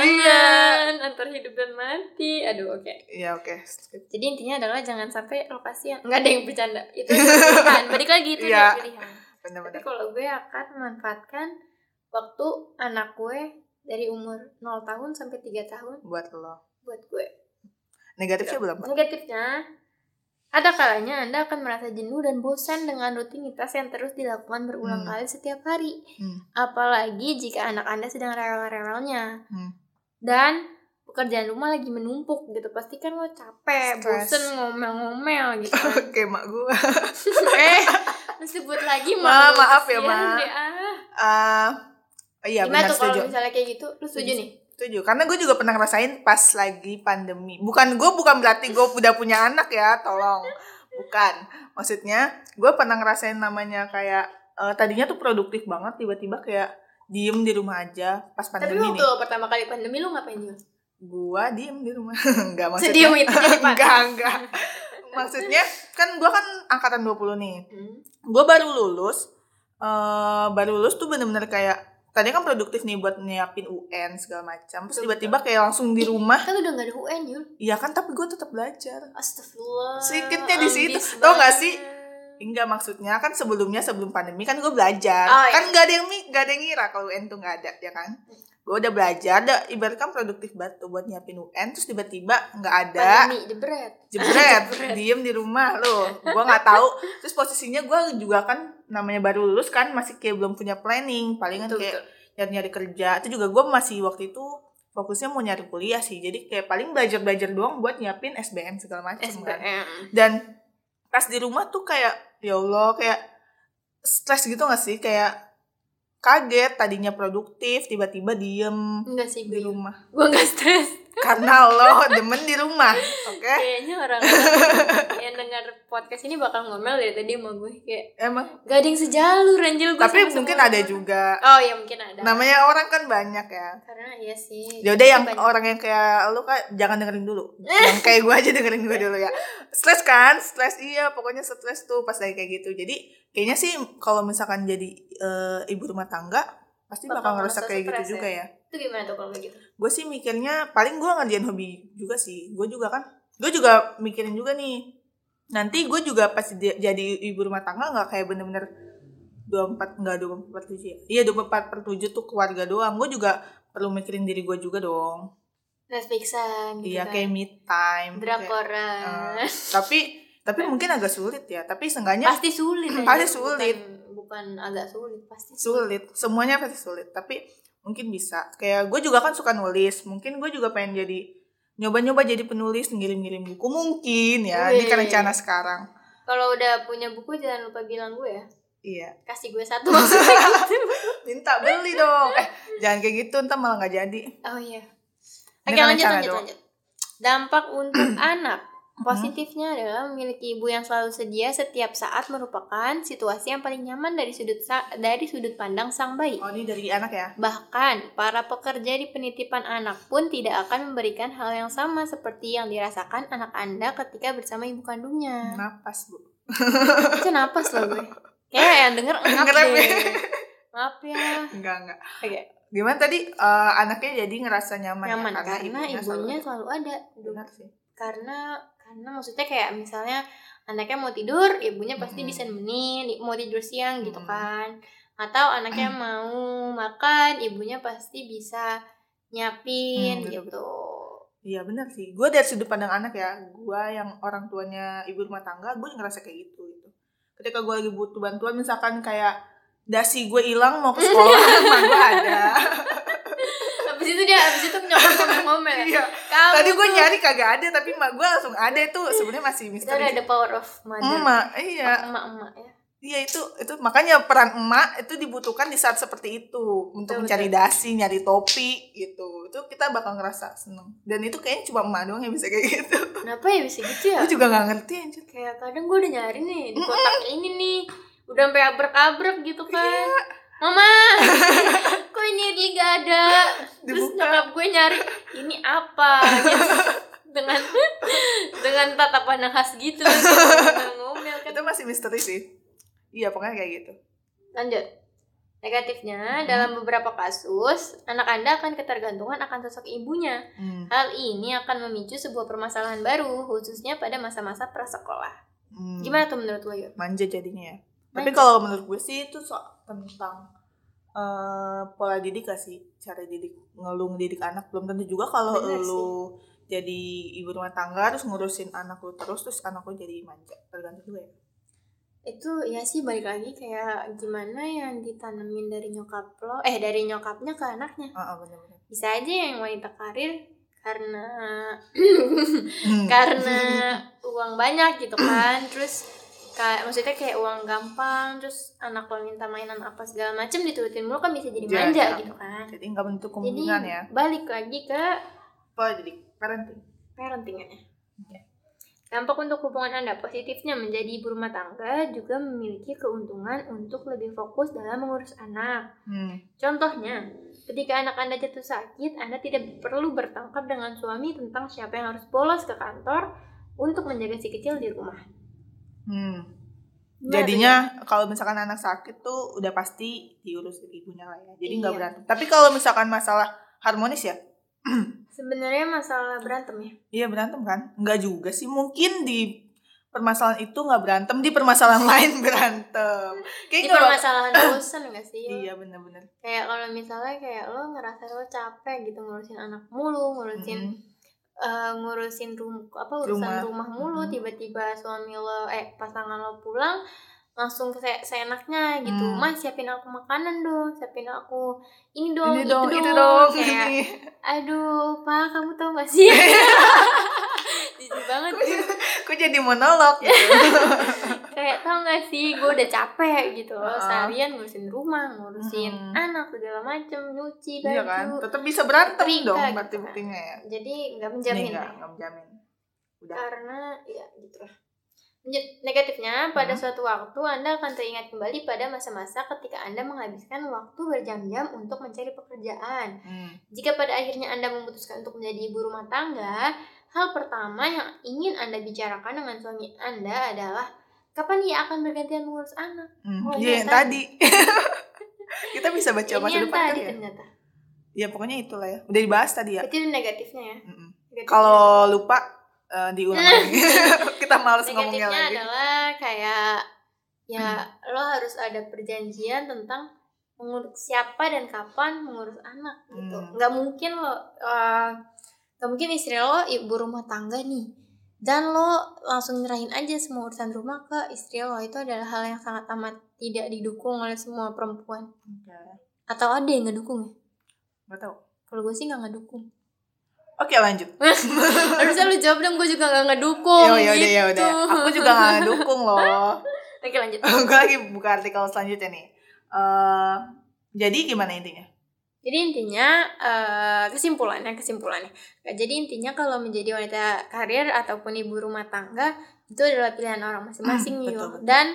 S3: perjuangan antar hidup dan mati. Aduh, oke.
S2: ya oke
S3: Jadi intinya adalah jangan sampai lo kasihan. Nggak ada yang bercanda. Itu pilihan. Balik lagi itu
S2: Iya.
S3: adalah pilihan. Tapi
S2: benar-benar
S3: kalau gue akan memanfaatkan waktu anak gue dari umur 0 tahun sampai 3 tahun
S2: buat lo
S3: buat gue. Iya.
S2: negatifnya belum Mbak?
S3: Negatifnya, ada kalanya Anda akan merasa jenuh dan bosan dengan rutinitas yang terus dilakukan berulang
S2: Hmm.
S3: kali setiap hari.
S2: Hmm.
S3: Apalagi jika anak Anda sedang rewel-rewelnya.
S2: Hmm.
S3: Dan pekerjaan rumah lagi menumpuk gitu. Pasti kan lo capek,
S2: Stres.
S3: bosan, ngomel-ngomel gitu. kan.
S2: oke mak gue
S3: eh, lu sebut lagi
S2: Ma,
S3: mah.
S2: maaf ya, Ma.
S3: Deh, ah.
S2: Ah, iya
S3: Gimana
S2: benar
S3: tuh
S2: iya,
S3: kalau
S2: setuju Iya,
S3: misalnya kayak gitu? Lu setuju nih?
S2: Setuju. Karena gue juga pernah ngerasain pas lagi pandemi. Bukan gue bukan berarti gue udah punya anak ya, tolong. Bukan. Maksudnya gue pernah ngerasain namanya kayak eh, tadinya tuh produktif banget tiba-tiba kayak diem di rumah aja pas
S3: Tapi
S2: pandemi
S3: waktu
S2: nih.
S3: pertama kali pandemi lu ngapain Jul?
S2: Gua diem di rumah. enggak maksudnya.
S3: Sediem itu jadi Pak.
S2: enggak, enggak. Maksudnya kan gue kan angkatan 20 nih.
S3: Hmm.
S2: gue baru lulus eh baru lulus tuh bener-bener kayak tadi kan produktif nih buat nyiapin UN segala macam terus tiba-tiba kayak langsung di rumah
S3: Kan udah gak ada UN Jul
S2: iya kan tapi gue tetap belajar
S3: Astagfirullah
S2: Sedikitnya di situ.
S3: ambis
S2: Tau nggak
S3: banget.
S2: sih? enggak maksudnya kan sebelumnya sebelum pandemi kan gue belajar
S3: Oh, iya.
S2: kan nggak ada yang mi- nggak ada yang ngira kalau UN tuh nggak ada ya kan gue udah belajar ada ibaratkan produktif banget tuh buat nyiapin UN terus tiba-tiba nggak ada
S3: Pandemi, jebret
S2: jebret diem di rumah lo gue nggak tahu terus posisinya gue juga kan namanya baru lulus kan masih kayak belum punya planning palingan
S3: Betul,
S2: Kan kayak nyari nyari kerja itu juga gue masih waktu itu fokusnya mau nyari kuliah sih jadi kayak paling belajar belajar doang buat nyiapin SBM segala macam kan
S3: SBM
S2: dan pas di rumah tuh kayak ya allah kayak stres gitu gak sih kayak kaget tadinya produktif tiba-tiba diem
S3: Enggak sih
S2: di
S3: gue
S2: rumah
S3: Gue gak stres
S2: karena lo demen di rumah oke
S3: Kayaknya orang yang dengar podcast ini bakal ngomel dari tadi sama gue Kayak
S2: emang
S3: gak ada yang sejalur anjir gue
S2: tapi
S3: sama
S2: mungkin
S3: semua
S2: ada
S3: orang.
S2: juga
S3: Oh iya mungkin ada
S2: namanya orang kan banyak ya
S3: Karena iya sih
S2: ya udah yang
S3: Banyak.
S2: orang yang kayak lu kan jangan dengerin dulu yang kayak gue aja dengerin gue dulu ya stres kan stres iya pokoknya stres tuh pas lagi kayak gitu jadi kayaknya sih kalau misalkan jadi eh, ibu rumah tangga pasti
S3: Bakal
S2: bakal ngerasa
S3: ngerasa
S2: kayak
S3: stres ya?
S2: gitu juga ya
S3: Itu gimana tuh kalau kayak gitu?
S2: gue sih mikirnya paling gue ngerjain hobi juga sih gue juga kan gue juga mikirin juga nih nanti gue juga pas di- jadi ibu rumah tangga nggak kayak bener-bener 24 nggak 24 per 7 ya iya 24 per 7 tuh keluarga doang gue juga perlu mikirin diri gue juga dong
S3: Netflixan gitu
S2: iya
S3: kan.
S2: kayak me time kayak,
S3: Drakoran
S2: eh, tapi tapi mungkin agak sulit ya tapi seenggaknya
S3: Pasti sulit anjir.
S2: Pasti sulit.
S3: bukan, bukan agak sulit Pasti
S2: sulit semuanya pasti sulit tapi mungkin bisa kayak gue juga kan suka nulis mungkin gue juga pengen jadi nyoba-nyoba jadi penulis ngirim-ngirim buku mungkin ya ini kan
S3: Wih.
S2: rencana sekarang
S3: Kalau udah punya buku jangan lupa bilang gue ya.
S2: iya
S3: Kasih gue satu maksudnya gitu.
S2: minta beli dong eh jangan kayak gitu ntar malah nggak jadi
S3: Oh iya.
S2: Ini
S3: Oke
S2: kan
S3: lanjut
S2: rencana
S3: lanjut
S2: doang.
S3: lanjut. Dampak untuk anak. Positifnya
S2: Mm-hmm.
S3: adalah memiliki ibu yang selalu sedia setiap saat merupakan situasi yang paling nyaman dari sudut sa- dari sudut pandang sang bayi.
S2: oh ini dari anak ya
S3: Bahkan para pekerja di penitipan anak pun tidak akan memberikan hal yang sama seperti yang dirasakan anak Anda ketika bersama ibu kandungnya.
S2: napas bu
S3: Itu napas loh gue. Kayak yang denger ngap
S2: Ngerem ya.
S3: deh. Maaf ya.
S2: enggak enggak
S3: Oke.
S2: gimana tadi eh, anaknya jadi ngerasa nyaman, ya?
S3: nyaman karena, ibunya
S2: selalu-
S3: selalu ada
S2: benar sih
S3: karena karena maksudnya kayak misalnya anaknya mau tidur ibunya pasti
S2: Mm-mm.
S3: bisa nemenin i- mau tidur siang gitu
S2: Mm-mm. Mm.
S3: kan atau anaknya mau makan ibunya pasti bisa nyiapin
S2: Hmm, betul-betul.
S3: gitu
S2: Iya benar sih. Gue dari sudut pandang anak ya, gue yang orang tuanya ibu rumah tangga, gue ngerasa kayak gitu gitu. Ketika gue lagi butuh bantuan, misalkan kayak dasi gue hilang mau ke sekolah, emak gue ada.
S3: habis itu dia habis itu nyokap ngomel-ngomel
S2: Iya.
S3: kamu
S2: Tadi gue
S3: tuh-
S2: nyari kagak ada, tapi emak gue langsung ada itu sebenarnya masih
S3: itu ada
S2: misteri.
S3: the power of mother
S2: Emak, iya,
S3: emak-emak ya
S2: iya itu itu makanya peran emak itu dibutuhkan di saat seperti itu untuk
S3: Betul,
S2: mencari
S3: betul.
S2: dasi, nyari topi gitu. Itu kita bakal ngerasa seneng. Dan itu kayaknya cuma emak doang yang bisa kayak gitu.
S3: kenapa ya bisa gitu ya
S2: Gue juga nggak ngerti anjir.
S3: kayak kadang gue udah nyari nih di kotak ini nih udah sampai abrek-abrek gitu kan mama kok ini Idli gak ada terus
S2: Dibuka.
S3: nyokap gue nyari ini apa gitu. dengan dengan tatapan yang khas gitu dengan ngomel kan
S2: itu masih misteri sih iya pokoknya kayak gitu
S3: lanjut negatifnya dalam beberapa kasus anak anda akan ketergantungan akan sosok ibunya
S2: Hmm,
S3: hal ini akan memicu sebuah permasalahan baru khususnya pada masa-masa prasekolah
S2: Hmm.
S3: gimana tuh menurut lo Yur?
S2: manja jadinya ya tapi
S3: Manja.
S2: kalau menurut gue sih itu soal tentang eh, pola didik gak sih cara didik ngelung didik anak belum tentu juga kalau
S3: Bener sih.
S2: lu jadi ibu rumah tangga terus ngurusin anak lu terus terus anak lu jadi manja tergantung juga ya
S3: itu ya sih balik lagi kayak gimana yang ditanemin dari nyokap lo eh dari nyokapnya ke anaknya
S2: ah ah, bener-bener
S3: bisa aja yang wanita karir karena
S2: Hmm.
S3: karena uang banyak gitu kan terus kayak maksudnya kayak uang gampang terus anak lo minta mainan apa segala macem diturutin mulu kan bisa jadi
S2: Jadi
S3: manja
S2: apa.
S3: gitu kan
S2: Jadi nggak bentuk
S3: jadi
S2: kemungkinan ya.
S3: balik lagi ke
S2: Apa jadi parenting?
S3: parentingannya
S2: Oke.
S3: dampak untuk hubungan anda positifnya menjadi ibu rumah tangga juga memiliki keuntungan untuk lebih fokus dalam mengurus anak
S2: Hmm.
S3: Contohnya, ketika anak Anda jatuh sakit, Anda tidak perlu bertengkar dengan suami tentang siapa yang harus bolos ke kantor untuk menjaga si kecil di rumah.
S2: Hmm.
S3: Gimana iya.
S2: Jadinya kalau misalkan anak sakit tuh udah pasti diurus ibunya lah ya. Jadi nggak
S3: Iya.
S2: berantem. Tapi kalau misalkan masalah harmonis ya,
S3: tuh? Sebenarnya masalah berantem ya.
S2: iya berantem kan? Nggak juga sih. Mungkin di permasalahan itu nggak berantem, di permasalahan lain berantem.
S3: Ini
S2: Kayaknya kalau
S3: permasalahan bosan gak sih? Yul?
S2: iya bener-bener.
S3: Kayak kalau misalnya kayak lo ngerasa lo capek gitu ngurusin anak mulu, ngurusin
S2: Mm-mm.
S3: eh, ngurusin rum apa urusan rumah,
S2: Rumah.
S3: mulu,
S2: Mm.
S3: tiba-tiba suami lo eh pasangan lo pulang langsung se seenaknya gitu.
S2: Mm.
S3: Mas siapin aku makanan dong, siapin aku ini dong,
S2: Ini
S3: itu,
S2: dong,
S3: dong.
S2: itu dong.
S3: Kayak,
S2: Ini.
S3: aduh pak kamu tau gak sih jijik banget gitu.
S2: Kok jadi monolog gitu?
S3: kayak tau gak sih gue udah capek gitu loh
S2: Heeh.
S3: seharian ngurusin rumah ngurusin
S2: Mm-mm.
S3: anak segala macem nyuci baju
S2: Iya kan? Tetap bisa berantem
S3: Rika
S2: dong
S3: gitu kan.
S2: bukti-buktinya ya.
S3: jadi nggak
S2: Ini
S3: menjamin
S2: nggak
S3: lah
S2: nggak menjamin. Udah.
S3: karena ya gitu lah Lanjut, negatifnya pada
S2: Hmm.
S3: suatu waktu anda akan teringat kembali pada masa-masa ketika anda menghabiskan waktu berjam-jam untuk mencari pekerjaan
S2: Hmm.
S3: Jika pada akhirnya Anda memutuskan untuk menjadi ibu rumah tangga, hal pertama yang ingin Anda bicarakan dengan suami Anda adalah kapan ia akan bergantian mengurus anak.
S2: Hmm.
S3: Oh,
S2: Iya,
S3: iya,
S2: yang
S3: tadi.
S2: tadi. Kita bisa baca
S3: Ini
S2: masa
S3: yang
S2: depan kan
S3: tadi
S2: ya?
S3: ternyata.
S2: Ya pokoknya itulah ya. Udah dibahas tadi ya.
S3: Berarti ada negatifnya ya.
S2: Mm-mm.
S3: Negatifnya.
S2: Kalau lupa eh, diulang lagi. Kita males ngomongnya
S3: negatifnya
S2: lagi. Hmm.
S3: adalah kayak ya lo harus ada perjanjian tentang mengurus siapa dan kapan mengurus anak gitu.
S2: Hmm.
S3: Nggak mungkin lo eh, nggak mungkin istri lo ibu rumah tangga nih dan lo langsung nyerahin aja semua urusan rumah ke istri lo itu adalah hal yang sangat amat tidak didukung oleh semua perempuan atau ada yang ngedukung ya
S2: Gak tau.
S3: kalau gue sih nggak ngedukung
S2: Oke lanjut.
S3: harusnya lo jawab dong gue juga nggak ngedukung
S2: Ya ya udah ya
S3: gitu.
S2: udah. Aku juga nggak dukung loh.
S3: oke lanjut
S2: Gue lagi buka artikel selanjutnya nih. Eh, jadi gimana intinya?
S3: Nah. Jadi intinya eh, kesimpulannya kesimpulannya. Nah, Jadi intinya kalau menjadi wanita karir ataupun ibu rumah tangga itu adalah pilihan orang masing-masing
S2: Hmm,
S3: Yul.
S2: betul, betul.
S3: Dan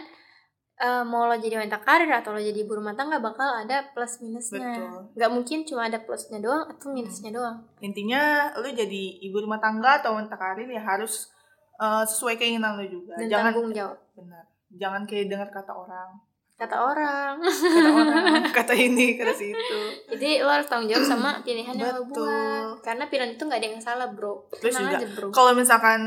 S3: eh, mau lo jadi wanita karir atau lo jadi ibu rumah tangga bakal ada plus minusnya.
S2: Betul. Hmm.
S3: Gak mungkin cuma ada plusnya doang atau minusnya doang.
S2: Intinya lu jadi ibu rumah tangga atau wanita karir ya harus eh, sesuai keinginan lu juga.
S3: Dan
S2: Jangan
S3: tanggung jawab
S2: benar. Jangan kayak dengar kata orang.
S3: kata orang.
S2: Kata orang, kata ini, kata si itu.
S3: jadi lo harus tanggung jawab sama pilihan yang lo
S2: Betul.
S3: buat. Karena pilihan itu nggak ada yang salah bro.
S2: Terus
S3: Tenang
S2: juga,
S3: aja bro.
S2: Kalau misalkan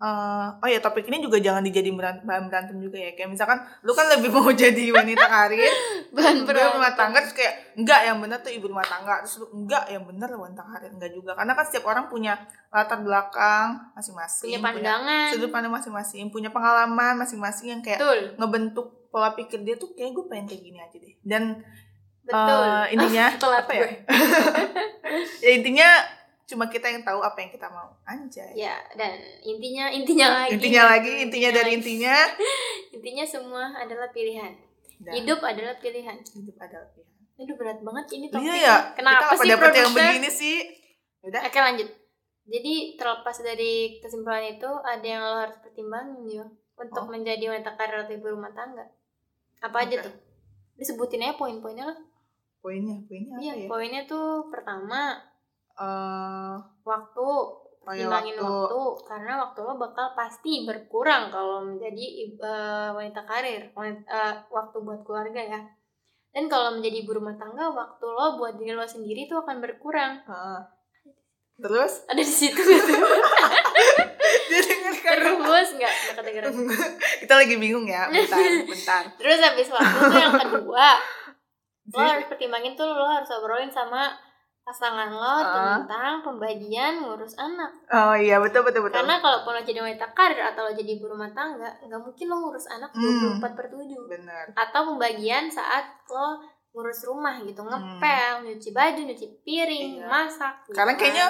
S2: eh, oh ya topik ini juga jangan dijadiin beran- bahan berantem juga ya. Kayak misalkan lu kan lebih mau jadi wanita karir,
S3: Bahan
S2: ibu
S3: berantem.
S2: rumah tangga terus kayak enggak yang benar tuh ibu rumah tangga, terus lu enggak yang benar wanita karir, enggak juga. Karena kan setiap orang punya latar belakang
S3: Punya
S2: masing-masing,
S3: pandangan.
S2: sudut pandang masing-masing, punya pengalaman masing-masing yang kayak
S3: Betul.
S2: ngebentuk pola pikir dia tuh kayak gue pengen kayak gini aja deh. Dan
S3: Betul.
S2: Eh, intinya
S3: Telat
S2: apa ya?
S3: gue.
S2: ya intinya cuma kita yang tahu apa yang kita mau anjay
S3: Ya, dan intinya intinya lagi.
S2: intinya lagi intinya dari intinya
S3: Intinya semua adalah pilihan.
S2: Dan
S3: Nah, Hidup adalah pilihan.
S2: hidup adalah pilihan
S3: Aduh berat banget ini topiknya.
S2: iya ya kita
S3: Kenapa sih
S2: dapat yang
S3: produser?
S2: begini sih udah
S3: Oke lanjut. Jadi terlepas dari kesimpulan itu ada yang lo harus pertimbangin yo
S2: Oh.
S3: untuk menjadi wanita karir atau ibu rumah tangga. Apa aja
S2: Oke.
S3: tuh? Disebutin aja poin-poinnya lah.
S2: poinnya poinnya apa
S3: Iya,
S2: ya
S3: poinnya tuh pertama
S2: Eh,
S3: waktu
S2: Oh, iya,
S3: timbangin waktu.
S2: waktu.
S3: karena waktu lo bakal pasti berkurang kalau menjadi eh, wanita karir Wan- eh, waktu buat keluarga ya dan kalau menjadi ibu rumah tangga waktu lo buat diri lo sendiri tuh akan berkurang
S2: heeh. terus
S3: ada di situ gitu.
S2: dia dengar kan?
S3: terus nggak nggak kedengeran
S2: kita lagi bingung ya bentar bentar
S3: terus habis waktu tuh yang kedua lo
S2: Jadi,
S3: harus pertimbangin tuh lo harus obrolin sama pasangan lo
S2: Ah.
S3: tentang pembagian ngurus anak
S2: oh iya betul betul betul
S3: Karena kalau lo jadi wanita karir atau lo jadi ibu rumah tangga, nggak mungkin lo ngurus anak
S2: Hmm.
S3: 24 per 7.
S2: benar
S3: Atau pembagian saat lo ngurus rumah gitu, ngepel, nyuci baju, nyuci piring,
S2: Hmm. Iya.
S3: masak. gitu
S2: Karena
S3: kan.
S2: kayaknya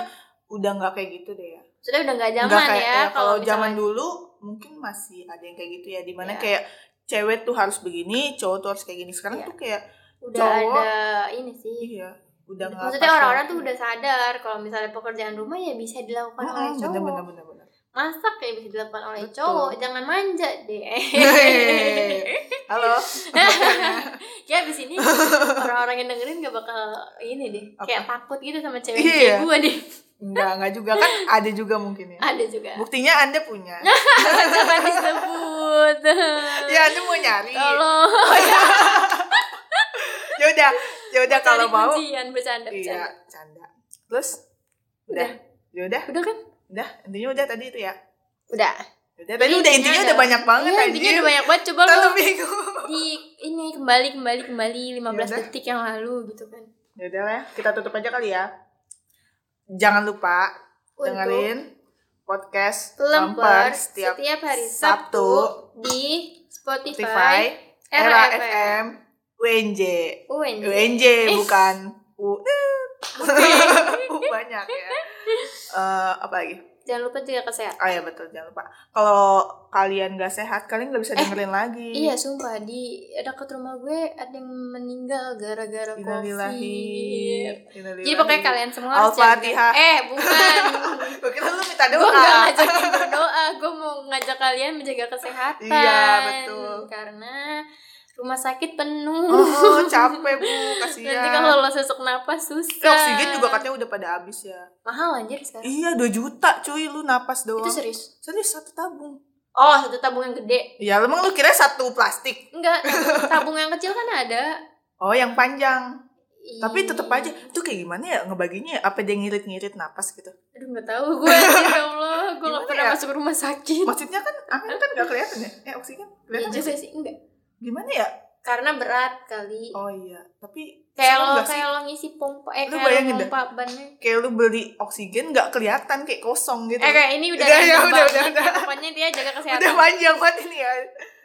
S2: udah nggak kayak gitu deh ya
S3: sudah udah nggak zaman
S2: Nggak kayak
S3: ya
S2: ya, kalau
S3: misalnya-
S2: zaman dulu mungkin masih ada yang kayak gitu ya dimana
S3: Iya.
S2: kayak cewek tuh harus begini cowok tuh harus kayak gini sekarang
S3: Iya.
S2: tuh kayak
S3: udah
S2: Cowok-
S3: ada ini sih
S2: iya udah nggak
S3: maksudnya
S2: pakai-
S3: orang-orang tuh udah sadar kalau misalnya pekerjaan rumah ya bisa dilakukan
S2: Mm-mm,
S3: oleh cowok
S2: bener bener bener bener
S3: masak ya bisa dilakukan oleh
S2: Betul.
S3: cowok jangan manja deh
S2: halo
S3: kayak Ya, abis ini orang-orang yang dengerin gak bakal ini deh kayak takut gitu sama cewek kayak
S2: Iya.
S3: gue deh
S2: nggak nggak juga kan ada juga mungkin ya
S3: ada Nah. juga
S2: buktinya anda punya
S3: jangan disebut
S2: ya iya. anda mau nyari
S3: tolong
S2: ya udah ya udah kalau
S3: Cari
S2: mau
S3: kuncian, bercanda
S2: iya
S3: bercanda
S2: canda terus udah ya udah
S3: udah kan
S2: udah intinya udah tadi itu ya
S3: udah
S2: udah tadi udah intinya udah banyak banget
S3: iya,
S2: anjir.
S3: intinya udah banyak banget coba
S2: Kita
S3: lu
S2: lu bingung
S3: di ini kembali kembali kembali 15
S2: Yaudah.
S3: detik yang lalu gitu kan
S2: ya udah lah kita tutup aja kali ya jangan lupa
S3: Untuk
S2: dengerin podcast
S3: Lemper
S2: Lempar
S3: setiap,
S2: setiap
S3: hari
S2: Sabtu
S3: Sabtu, di Spotify,
S2: Spotify
S3: Era
S2: Era
S3: FM,
S2: FM UNJ
S3: UNJ.
S2: UNJ
S3: Eh.
S2: bukan U U banyak ya Eh, apa lagi
S3: Jangan lupa juga kesehatan.
S2: oh ya betul jangan lupa kalau kalian gak sehat kalian gak bisa dengerin lagi
S3: Iya, sumpah di dekat rumah gue ada yang meninggal gara-gara
S2: Innalillahi.
S3: COVID.
S2: Innalillahi.
S3: Jadi Iya, pokoknya kalian semua harus jaga-
S2: Al-Fatihah.
S3: Eh, bukan.
S2: Gua kira lu minta
S3: gue
S2: doa.
S3: gak ngajakin berdoa, gue mau ngajak kalian menjaga kesehatan.
S2: Iya, betul.
S3: Karena rumah sakit penuh.
S2: Oh, capek Bu, kasihan.
S3: Nanti kalau lo sesek napas susah.
S2: Eh, oksigen juga katanya udah pada habis ya.
S3: mahal anjir sekarang.
S2: Iya, 2 juta cuy lu napas doang.
S3: Itu serius.
S2: Serius satu tabung.
S3: Oh, satu tabung yang gede.
S2: Ya, emang lu kira satu plastik.
S3: Enggak, tabung- tabung yang kecil kan ada.
S2: Oh, yang panjang. Tapi
S3: Ih.
S2: tetep aja itu kayak gimana ya ngebaginya? ya? Apa dia ngirit-ngirit napas gitu?
S3: Aduh nggak tahu gue anjir ya Allah, gue nggak
S2: Gimana
S3: pernah
S2: ya?
S3: masuk rumah sakit.
S2: Maksudnya kan angin kan gak kelihatan ya? Eh, oksigen
S3: Iya
S2: kelihatan nggak
S3: juga
S2: sih?
S3: sih enggak.
S2: Gimana ya?
S3: Karena berat kali.
S2: Oh iya, tapi
S3: kayak
S2: serem
S3: lo
S2: nggak sih?
S3: kayak lo ngisi pompa eh
S2: Lu
S3: kayak lo
S2: bayangin dah. Gitu.
S3: pompa bannya.
S2: kayak lu beli oksigen nggak kelihatan kayak kosong gitu.
S3: Eh kayak ini udah
S2: Udah, ya,
S3: panjang
S2: udah,
S3: banget.
S2: udah, udah.
S3: Pokoknya dia jaga kesehatan.
S2: Udah panjang banget ini ya.